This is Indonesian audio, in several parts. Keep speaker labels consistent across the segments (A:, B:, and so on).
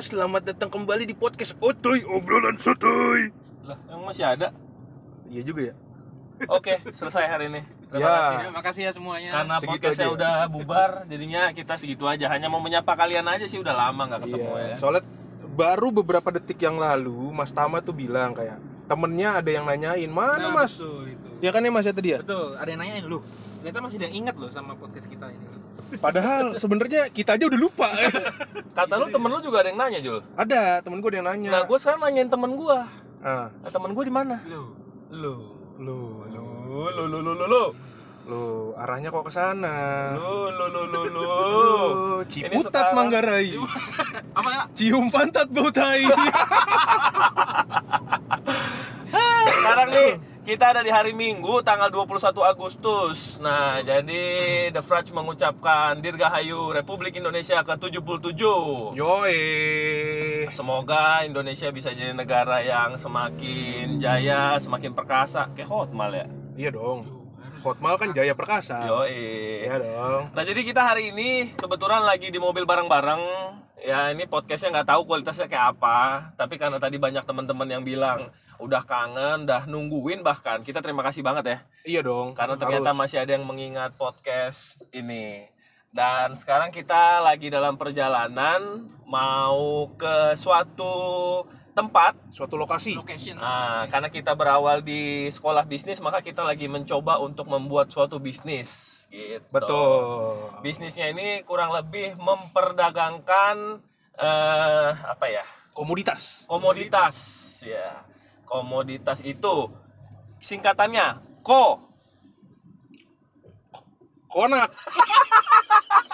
A: Selamat datang kembali di podcast Otoy Obrolan Sotoy.
B: Lah, emang masih ada?
A: Iya juga ya.
B: Oke, selesai hari ini. Terima
A: Ya.
B: kasih.
C: Ya, makasih ya semuanya.
B: Karena
A: Segitu aja
B: podcastnya
A: ya.
B: udah bubar, jadinya kita segitu aja. Hanya mau menyapa kalian aja sih, udah lama nggak ketemu
A: Iya.
B: ya.
A: Soalnya baru beberapa detik yang lalu Mas Tama tuh bilang kayak temennya ada yang nanyain mana
C: Nah,
A: Mas.
C: Betul, itu.
A: Ya kan ya Mas ya tadi ya.
C: Betul, ada yang nanyain lu. Ternyata masih ada yang ingat loh sama podcast kita ini.
A: Padahal sebenarnya kita aja udah lupa.
B: Kata
C: Iya,
B: lu temen lu juga ada yang nanya, Jul.
A: ada temen gue ada yang nanya.
B: Nah, gue sekarang nanyain temen gue.
A: Ah,
B: Nah, temen gue di mana?
C: Lu. Lu.
A: lu
B: Lu, lu, lu, lu, lu, lu,
A: lu arahnya kok ke sana.
B: lu, lu, lu, lu, lu.
A: Lu
B: Ini
A: Ciputat
B: sekarang-
A: Manggarai.
C: Apa ya?
A: Cium pantat bau tai.
B: Hah, Sekarang nih, kita ada di hari Minggu, tanggal 21 Agustus. Nah, jadi The Fratch mengucapkan Dirgahayu Republik Indonesia ke-77.
A: Yoi.
B: Semoga Indonesia bisa jadi negara yang semakin jaya, semakin perkasa. Kayak Hotmal ya.
A: Iya dong. Hotmal kan Jaya Perkasa.
B: Yoi.
A: Iya dong.
B: Nah jadi kita hari ini kebetulan lagi di mobil bareng-bareng. Ya ini podcastnya nggak tahu kualitasnya kayak apa. Tapi karena tadi banyak teman-teman yang bilang udah kangen, udah nungguin bahkan. Kita terima kasih banget ya.
A: Iya dong.
B: Karena ternyata masih ada yang mengingat podcast ini. Dan sekarang kita lagi dalam perjalanan mau ke suatu tempat
A: suatu lokasi.
C: Location.
B: Nah, karena kita berawal di sekolah bisnis, maka kita lagi mencoba untuk membuat suatu bisnis. Gitu.
A: Betul.
B: Bisnisnya ini kurang lebih memperdagangkan eh apa ya?
A: Komoditas.
B: Komoditas, ya. Komoditas itu singkatannya ko.
A: Konak.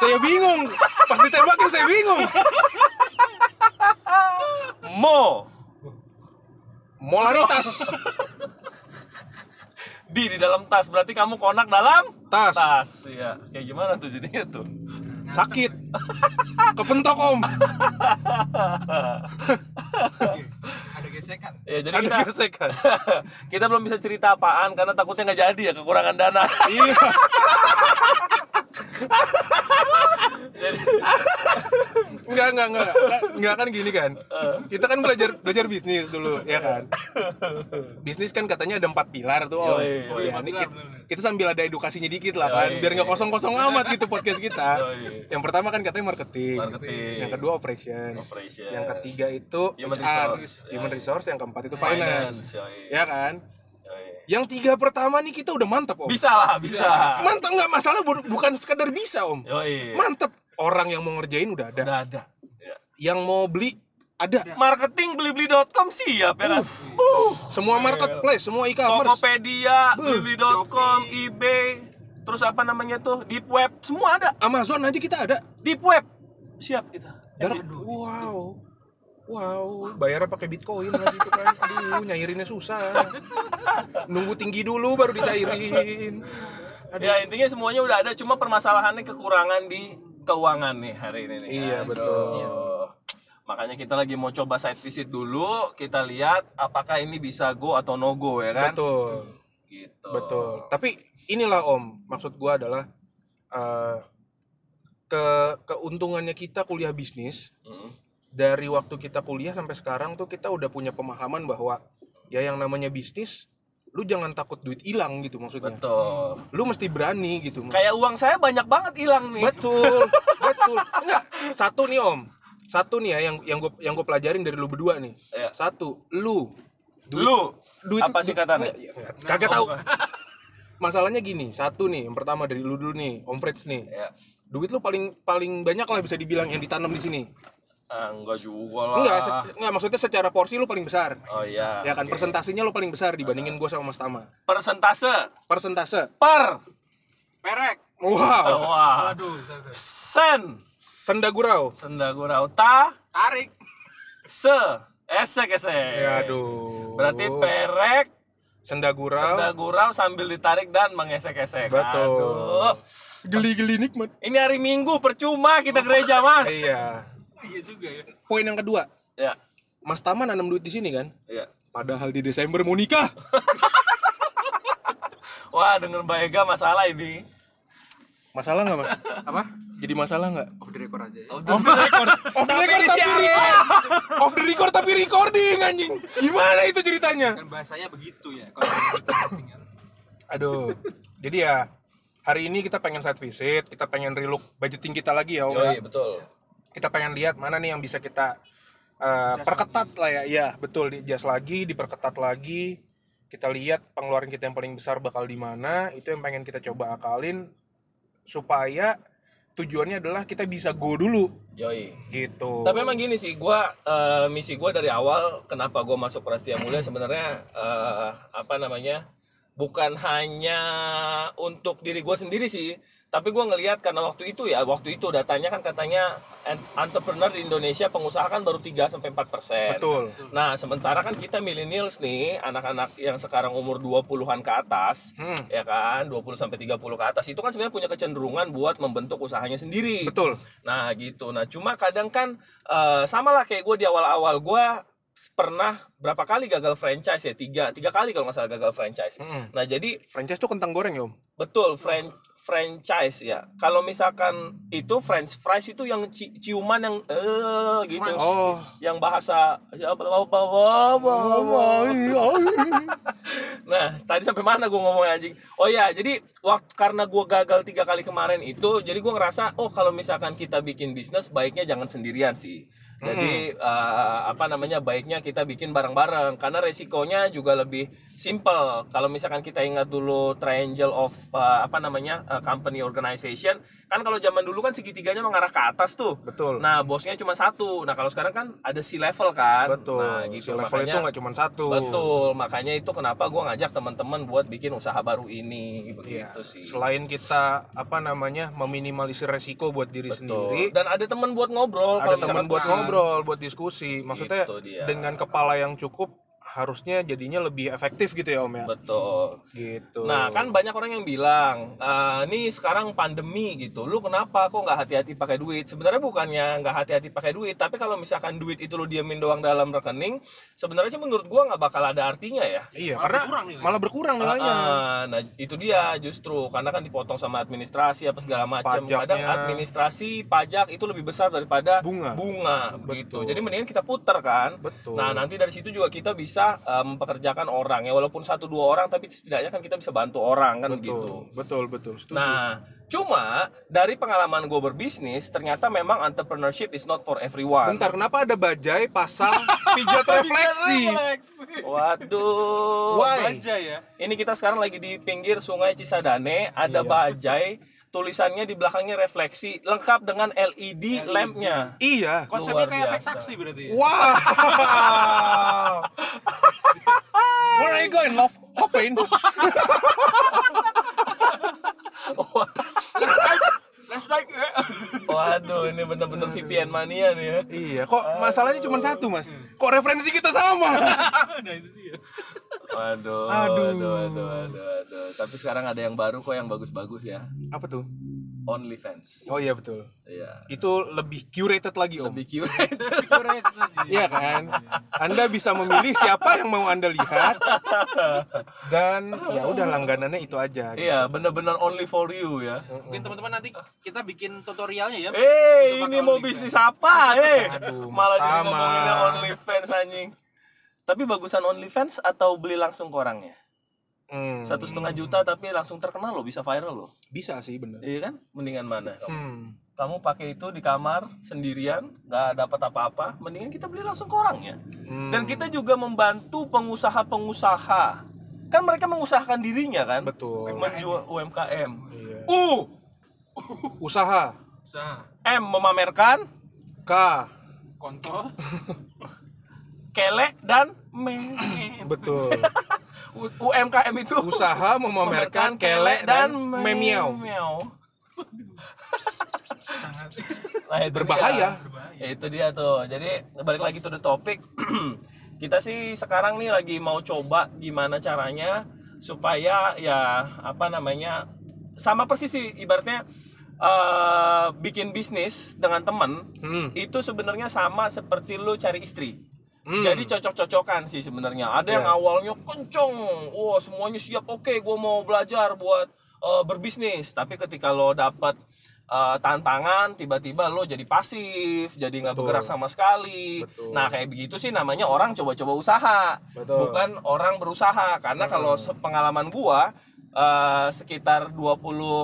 A: saya bingung. Pas ditembakin saya bingung.
B: Mo
A: Molaritas.
B: di di dalam tas berarti kamu konak dalam
A: Tas.
B: tas ya kayak gimana tuh jadinya tuh
A: Sakit. Kepentok om.
C: Ada gesekan.
B: ya jadi
A: Ada
B: kita
A: gesekan.
B: kita belum bisa cerita apaan karena takutnya nggak jadi ya kekurangan dana
A: Iya.
B: jadi
A: Enggak, enggak, enggak. Enggak kan gini kan. Kita kan belajar belajar bisnis dulu, ya kan. Bisnis kan katanya ada empat pilar tuh, Om.
B: Yoi,
A: Oh,
B: yoi,
A: iya,
C: empat
A: ini
C: pilar,
A: kita,
C: bener-bener.
A: kita sambil ada edukasinya dikit lah kan,
B: Yoi.
A: biar nggak kosong-kosong amat gitu podcast kita.
B: Yoi.
A: Yang pertama kan katanya marketing.
B: Marketing.
A: Yang kedua operations.
B: Operations.
A: Yang ketiga itu
B: Human
A: HR,
B: resource.
A: human resource, yang keempat itu finance.
B: Finance, yoi.
A: Ya kan? Yang tiga pertama nih kita udah mantep, Om.
B: bisa lah bisa
A: Mantep nggak masalah bu- bukan sekadar bisa, Om.
B: Yoi.
A: Mantep orang yang mau ngerjain udah ada.
B: udah ada Ya.
A: Yang mau beli ada.
B: marketing blibli.com siap ya kan
A: semua marketplace, semua e-commerce.
B: Tokopedia blibli.com eBay terus apa namanya tuh deep web semua ada
A: Amazon aja kita ada.
B: deep web siap kita
A: Dar- wow. Wow, bayarnya pakai Bitcoin lagi itu kan. Aduh, nyairinnya susah. Nunggu tinggi dulu baru dicairin. Aduh.
B: ya intinya semuanya udah ada cuma permasalahannya kekurangan di keuangan nih hari ini nih kan.
A: Iya,
B: Aduh.
A: betul.
B: makanya kita lagi mau coba site visit dulu kita lihat apakah ini bisa go atau no go ya kan
A: Betul.
B: gitu
A: Betul. Tapi inilah Om, maksud gua adalah eh, ke keuntungannya kita kuliah bisnis
B: Mm.
A: dari waktu kita kuliah sampai sekarang tuh kita udah punya pemahaman bahwa ya yang namanya bisnis lu jangan takut duit hilang gitu maksudnya.
B: betul
A: Lu mesti berani gitu.
B: kayak uang saya banyak banget hilang nih
A: Betul, betul. Enggak, satu nih Om. Satu nih ya yang yang gue yang gue pelajarin dari lu berdua nih.
B: Iya.
A: Satu, lu
B: lu
A: duit
B: apa ya? sih katanya
A: Enggak, iya. enggak, Nah, kagak tahu masalahnya gini satu nih yang pertama dari lu dulu nih om Freds nih
B: ya
A: duit lu paling paling banyak lah bisa dibilang yang ditanam di sini
B: ah, enggak juga lah
A: enggak se- enggak maksudnya secara porsi lu paling besar
B: oh iya
A: ya kan
B: oke.
A: persentasenya lu paling besar dibandingin gua sama Mas Tama
B: persentase
A: persentase
B: per
C: Perek.
A: wow
B: wah
C: Aduh, sorry, sorry.
B: sen
A: senda gurau
B: senda gurau ta
C: Tarik.
B: se esek esek
A: ya aduh
B: berarti perek
A: senda
B: senda
A: gurau
B: gurau sambil ditarik dan mengesek-esek
A: Betul.
B: Aduh.
A: geli-geli nikmat
B: ini hari minggu percuma kita gereja mas
A: iya
C: Iya juga ya.
A: poin yang kedua
B: ya
A: Mas Tama nanam duit di sini kan
B: ya
A: padahal di Desember mau nikah
B: wah denger Mbak Ega masalah ini
A: masalah nggak mas
C: Apa?
D: Jadi masalah nggak?
C: Off the record aja ya.
B: Off the record.
D: Off the
B: Sampai
D: record tapi
B: disiarin.
D: record. Off the record tapi recording anjing. Gimana itu ceritanya?
C: Kan bahasanya begitu ya kalau marketing kan.
D: Aduh.
A: Jadi ya hari ini kita pengen site visit, kita pengen relook budgeting kita lagi ya, Om. ya.
B: Yoi, betul.
A: Kita pengen lihat mana nih yang bisa kita eh, perketat lah ya. Iya, betul di adjust lagi, diperketat lagi. Kita lihat pengeluaran kita yang paling besar bakal di mana, itu yang pengen kita coba akalin supaya tujuannya adalah kita bisa go dulu
B: Yoi.
A: gitu.
B: Tapi emang gini sih, gua eh, misi gua dari awal kenapa gua masuk Prastia Mulia sebenarnya eh, apa namanya? Bukan hanya untuk diri gua sendiri sih, tapi gua ngelihat karena waktu itu ya, waktu itu datanya kan katanya en- entrepreneur di Indonesia pengusaha kan baru 3 sampai 4 persen.
A: Betul.
B: Nah, sementara kan kita millennials nih, anak-anak yang sekarang umur 20-an ke atas,
A: Hmm.
B: ya kan, 20 sampai 30 ke atas itu kan sebenarnya punya kecenderungan buat membentuk usahanya sendiri.
A: Betul.
B: Nah, gitu. Nah, cuma kadang kan eh, sama lah kayak gue di awal-awal gue pernah berapa kali gagal franchise ya tiga tiga kali kalau nggak salah gagal franchise nah jadi
A: Franchise tuh kentang goreng ya, Om.
B: Betul, fran- franchise ya. Kalau misalkan itu French fries itu yang ci- ciuman yang eh gitu.
A: Oh.
B: Yang bahasa ya, apa- apa- apa- apa-
A: iya,
B: apa- apa. Nah, tadi sampai mana gue ngomong anjing? Oh ya, jadi waktu karena gue gagal tiga kali kemarin itu, jadi gue ngerasa oh kalau misalkan kita bikin bisnis baiknya jangan sendirian sih. Jadi
A: Hmm.
B: eh, apa namanya baiknya kita bikin bareng-bareng karena resikonya juga lebih simple. Kalau misalkan kita ingat dulu triangle of eh, apa namanya eh, company organization, kan kalau zaman dulu kan segitiganya mengarah ke atas tuh.
A: Betul.
B: Nah bosnya cuma satu. Nah kalau sekarang kan ada si level kan.
A: Betul.
B: Nah gitu.
A: Si level
B: Makanya-
A: itu nggak cuma satu.
B: Betul, makanya itu kenapa gua ngajak teman-teman buat bikin usaha baru ini
A: Iya.
B: begitu sih.
A: Gitu Selain kita apa namanya meminimalisir resiko buat diri sendiri,
B: Betul. Dan ada teman buat ngobrol
A: ada
B: kalau misalkan
A: teman Gitu buat
B: sekarang.
A: ngobrol, buat diskusi. Maksudnya
B: Itu dia.
A: dengan kepala yang cukup harusnya jadinya lebih efektif gitu ya Om ya.
B: Betul.
A: Gitu.
B: Nah, kan banyak orang yang bilang, "Ah, nih sekarang pandemi gitu. Lu kenapa kok nggak hati-hati pakai duit?" Sebenarnya bukannya nggak hati-hati pakai duit, tapi kalau misalkan duit itu lu diamin doang dalam rekening, sebenarnya sih menurut gua nggak bakal ada artinya ya.
A: iya,
C: malah
A: karena
C: berkurang nilainya.
A: malah berkurang nilainya.
B: Ah, nah itu dia justru karena kan dipotong sama administrasi apa segala macam.
A: Pajaknya.
B: Kadang administrasi pajak itu lebih besar daripada
A: Bunga.
B: bunga gitu. Jadi mendingan kita puter kan.
A: Betul.
B: Nah nanti dari situ juga kita bisa eh, mempekerjakan orang ya walaupun satu dua orang tapi setidaknya kan kita bisa bantu orang kan gitu.
A: Betul, betul, betul. Setuju.
B: Nah, cuma dari pengalaman gue berbisnis, ternyata memang entrepreneurship is not for everyone.
A: Bentar, kenapa ada bajai pasang pijat refleksi?
B: Waduh.
A: Why?
C: Aja ya.
B: Ini kita sekarang lagi di pinggir Sungai Cisadane,
C: Iya.
B: ada bajai, tulisannya di belakangnya refleksi, lengkap dengan LED, lampnya.
C: E
A: iya.
C: Konsepnya
B: Luar
C: kayak efek
B: biasa.
C: taksi berarti ya.
A: Wow. Where are you going, love? Hopin.
C: Let's like eh.
B: Waduh, ini bener-bener VPN mania nih ya.
A: iya, kok masalahnya cuma satu, Mas? Kok referensi kita sama?
C: Nah itu dia.
B: Waduh, aduh, aduh, aduh, aduh, Tapi sekarang ada yang baru kok yang bagus-bagus ya.
A: Apa tuh?
B: OnlyFans.
A: Oh iya betul.
B: Iya.
A: Itu lebih curated lagi, Om.
B: Lebih curated.
A: Iya kan? Anda bisa memilih siapa yang mau Anda lihat. Dan ya udah langganannya itu aja. gitu.
B: Iya, bener-bener only for you ya.
C: Mungkin teman-teman nanti kita bikin tutorialnya ya.
B: Eh, ini mau bisnis apa? Eh, malah jadi
A: Mas Tama.
B: ngomonginnya OnlyFans anjing. Tapi bagusan OnlyFans atau beli langsung ke orangnya?
A: Hmm,
B: Satu setengah juta tapi langsung terkenal loh, bisa viral loh.
A: bisa sih bener.
B: Iya kan? Mendingan mana?
A: Hmm,
B: Kamu pakai itu di kamar sendirian, nggak dapat apa-apa. Mendingan kita beli langsung ke orangnya.
A: Hmm.
B: Dan kita juga membantu pengusaha-pengusaha. Kan mereka mengusahakan dirinya kan?
A: Betul.
B: Menjual UMKM.
A: Iya.
B: U
A: Usaha
C: Usaha.
B: M memamerkan,
A: K
C: Kontol.
B: kelek dan me.
A: betul.
B: U- UMKM itu
A: Usaha memamerkan kelek dan memiau.
B: nah, itu
A: Berbahaya.
B: dia. Ya, itu dia tuh. Jadi balik lagi to the topic. kita sih sekarang nih lagi mau coba gimana caranya supaya ya apa namanya sama persis sih ibaratnya eh, bikin bisnis dengan temen
A: Hmm.
B: itu sebenarnya sama seperti lu cari istri. Jadi cocok-cocokan sih sebenarnya. Ada yang awalnya kenceng, wah semuanya siap, oke, gua mau belajar buat eh, berbisnis. Tapi ketika lo dapat eh, tantangan tiba-tiba lo jadi pasif jadi nggak bergerak sama sekali nah kayak begitu sih namanya orang coba-coba usaha
A: Betul.
B: bukan orang berusaha karena kalau
A: Hmm.
B: pengalaman gua eh, sekitar 28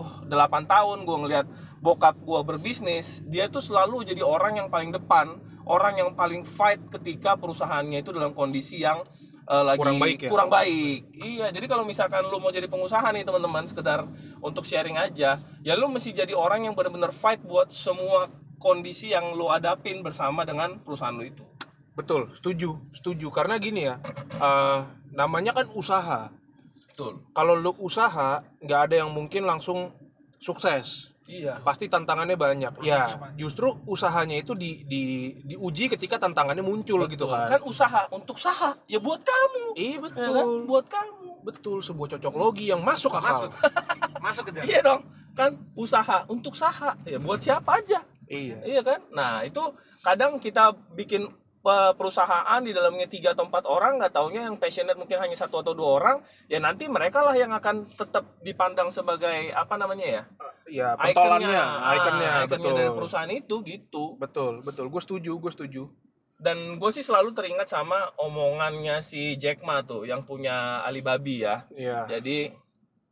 B: tahun gua ngelihat bokap gua berbisnis dia tuh selalu jadi orang yang paling depan orang yang paling fight ketika perusahaannya itu dalam kondisi yang eh, lagi
A: Kurang baik ya?
B: kurang baik. Iya, jadi kalau misalkan lu mau jadi pengusaha nih teman-teman sekedar untuk sharing aja, ya lu mesti jadi orang yang benar-benar fight buat semua kondisi yang lu hadapin bersama dengan perusahaan lu itu.
A: Betul, setuju, setuju. Karena gini ya, eh, namanya kan usaha.
B: Betul.
A: Kalau lu usaha, nggak ada yang mungkin langsung sukses.
B: Iya.
A: Pasti tantangannya banyak. ya, justru usahanya itu di, di diuji ketika tantangannya muncul gitu kan.
B: Kan usaha untuk saha ya buat kamu.
A: Iya
B: Ya kan?
A: betul,
B: Buat kamu.
A: betul sebuah cocok logi yang masuk akal.
C: Masuk ke dalam.
B: Iya dong. Kan usaha untuk saha ya buat siapa aja.
A: Iya.
B: Iya kan? Nah, itu kadang kita bikin eh, perusahaan di dalamnya tiga atau empat orang nggak taunya yang passionate mungkin hanya satu atau dua orang ya nanti mereka lah yang akan tetap dipandang sebagai apa namanya ya
A: Ya,
B: ikonnya
A: pentolannya,
B: Ah,
A: ikonnya,
B: ikonnya
A: betul.
B: dari perusahaan itu gitu
A: Betul, betul. Gue setuju, gue setuju.
B: dan gue sih selalu teringat sama omongannya si Jack Ma tuh yang punya Alibabi ya
A: Iya.
B: jadi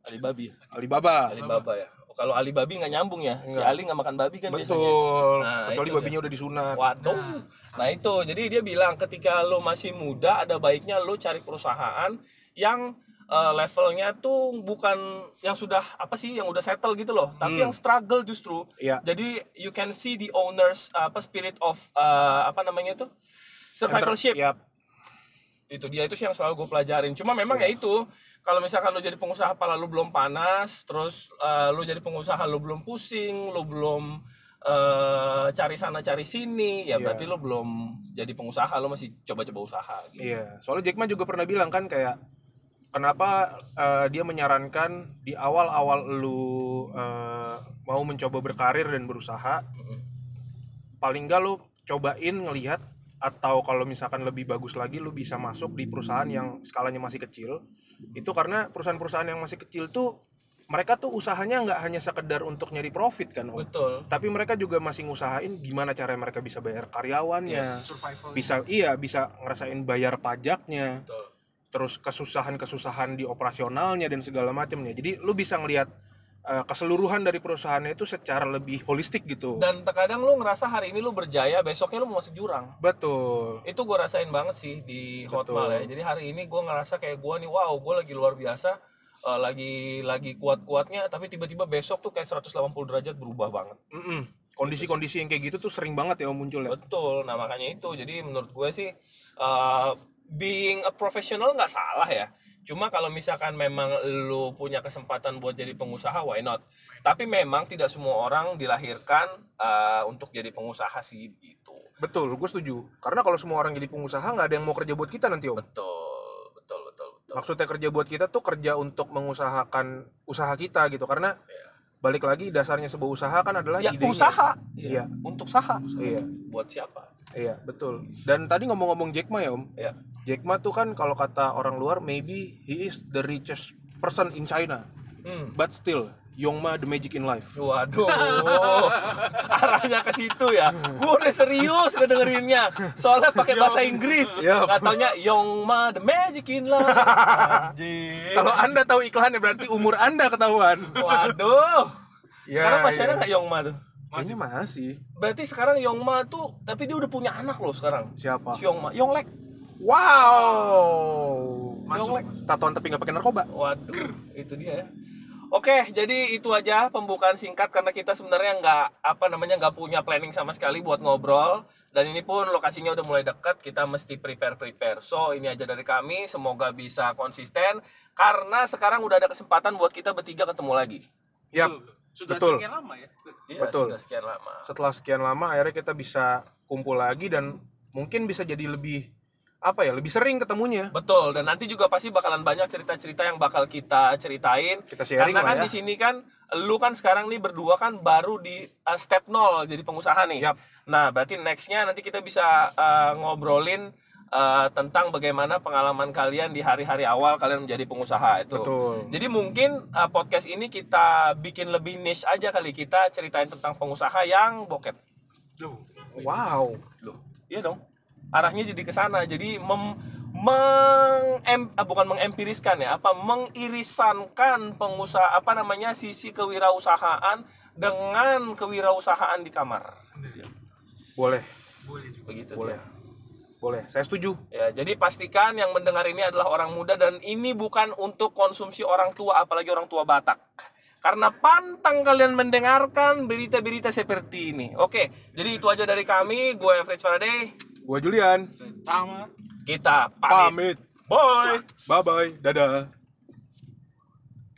B: Alibabi
A: Alibaba.
B: Alibaba ya kalau Alibabi nggak nyambung ya si Ali nggak makan babi kan biasanya
A: Betul.
B: Nah,
A: Kecuali
B: itu
A: babinya udah disunat.
B: Waduh. Nah, itu. Jadi dia bilang ketika lo masih muda ada baiknya lo cari perusahaan yang eh, levelnya tuh bukan yang sudah apa sih yang udah settle gitu loh, tapi yang struggle justru.
A: Iya.
B: Jadi you can see the owners apa spirit of eh, apa namanya tuh survivorship
A: Yap.
B: itu dia itu sih yang selalu gue pelajarin cuma memang ya itu kalau misalkan lo jadi pengusaha pala lo belum panas terus eh, lo jadi pengusaha lo belum pusing lo belum eh, cari sana cari sini ya berarti lo belum jadi pengusaha lo masih coba-coba usaha gitu
A: Iya, soalnya Jack Ma juga pernah bilang kan kayak kenapa eh, dia menyarankan di awal-awal lu eh, mau mencoba berkarir dan berusaha paling enggak lu cobain ngelihat atau kalau misalkan lebih bagus lagi lu bisa masuk di perusahaan yang skalanya masih kecil. Itu karena perusahaan-perusahaan yang masih kecil tuh mereka tuh usahanya nggak hanya sekedar untuk nyari profit kan, Om?
B: betul
A: tapi mereka juga masih ngusahain gimana cara mereka bisa bayar karyawannya
C: Survival.
A: bisa iya bisa ngerasain bayar pajaknya
B: betul
A: terus kesusahan-kesusahan di operasionalnya dan segala macamnya jadi lu bisa ngelihat eh, keseluruhan dari perusahaannya itu secara lebih holistik gitu
B: dan terkadang lo ngerasa hari ini lo berjaya besoknya lo mau masuk jurang
A: betul
B: itu gue rasain banget sih di Hotmail ya jadi hari ini gue ngerasa kayak gue nih wow gue lagi luar biasa eh, lagi lagi kuat-kuatnya tapi tiba-tiba besok tuh kayak 180 derajat berubah banget
A: Mm-mm. kondisi-kondisi yang kayak gitu tuh sering banget ya om muncul ya
B: Betul, nah makanya itu. Jadi menurut gue sih uh, being a professional nggak salah ya. Cuma kalau misalkan memang lu punya kesempatan buat jadi pengusaha, why not? Tapi memang tidak semua orang dilahirkan uh, untuk jadi pengusaha sih gitu.
A: betul gue setuju karena kalau semua orang jadi pengusaha nggak ada yang mau kerja buat kita nanti om
B: Betul, betul, betul, betul.
A: maksudnya kerja buat kita tuh kerja untuk mengusahakan usaha kita gitu karena balik lagi dasarnya sebuah usaha kan adalah
B: Iya. Ya
A: idenya.
B: usaha,
A: Iya.
B: Untuk saha.
A: Iya.
B: Buat siapa?
A: iya betul dan tadi ngomong-ngomong Jack Ma ya om
B: Ya.
A: Jack Ma tuh kan kalau kata orang luar maybe he is the richest person in China
B: Hmm.
A: but still Yong Ma the magic in life
B: Waduh, arahnya ke situ ya. Gue udah serius ngedengerinnya. Soalnya pakai bahasa Inggris.
A: Yap.
B: Katanya Yong Ma the Magic in Love. Anjing.
A: kalau anda tahu iklannya berarti umur anda ketahuan
B: Waduh.
A: Ya,
B: sekarang masih
A: ya.
B: ada nggak Yong Ma tuh?
A: kayaknya masih
B: Berarti sekarang Yong Ma tuh, tapi dia udah punya anak loh sekarang.
A: siapa
B: Si Yong Ma, Yong Lek.
A: wow
B: Masuk.
A: tatoan tapi nggak pakai narkoba
B: Waduh, itu dia ya. Oke, jadi itu aja pembukaan singkat karena kita sebenarnya nggak apa namanya nggak punya planning sama sekali buat ngobrol dan ini pun lokasinya udah mulai dekat kita mesti prepare prepare. So ini aja dari kami, semoga bisa konsisten karena sekarang udah ada kesempatan buat kita bertiga ketemu lagi.
A: ya
C: Sudah
A: betul
C: sekian lama ya.
B: Iya,
A: Betul.
B: Sudah sekian lama.
A: setelah sekian lama akhirnya kita bisa kumpul lagi dan mungkin bisa jadi lebih apa ya lebih sering ketemunya
B: Betul, dan nanti juga pasti bakalan banyak cerita-cerita yang bakal kita ceritain.
A: Kita sharing
B: Karena
A: lah
B: kan
A: ya.
B: di sini kan lu kan sekarang nih berdua kan baru di uh, step nol jadi pengusaha nih.
A: Yap.
B: Nah, berarti nextnya nanti kita bisa uh, eh, ngobrolin eh, tentang bagaimana pengalaman kalian di hari-hari awal kalian menjadi pengusaha itu.
A: Betul.
B: Jadi mungkin eh, podcast ini kita bikin lebih niche aja kali kita ceritain tentang pengusaha yang bokep.
A: Wow.
B: Loh, iya dong. Arahnya jadi ke sana. Jadi mem meng em- ah, bukan mengempiriskan ya, apa mengirisankan pengusaha apa namanya sisi kewirausahaan dengan kewirausahaan di kamar.
A: Boleh,
B: Begitu
A: boleh.
B: dia.
A: Boleh. Saya setuju.
B: Ya, jadi pastikan yang mendengar ini adalah orang muda dan ini bukan untuk konsumsi orang tua apalagi orang tua Batak. Karena pantang kalian mendengarkan berita-berita seperti ini. Oke, jadi itu aja dari kami. Gue Fritz Faraday.
A: Gue Julian.
C: Sama.
B: Kita pamit.
A: Pamit.
B: Bye.
A: Bye bye. Dadah.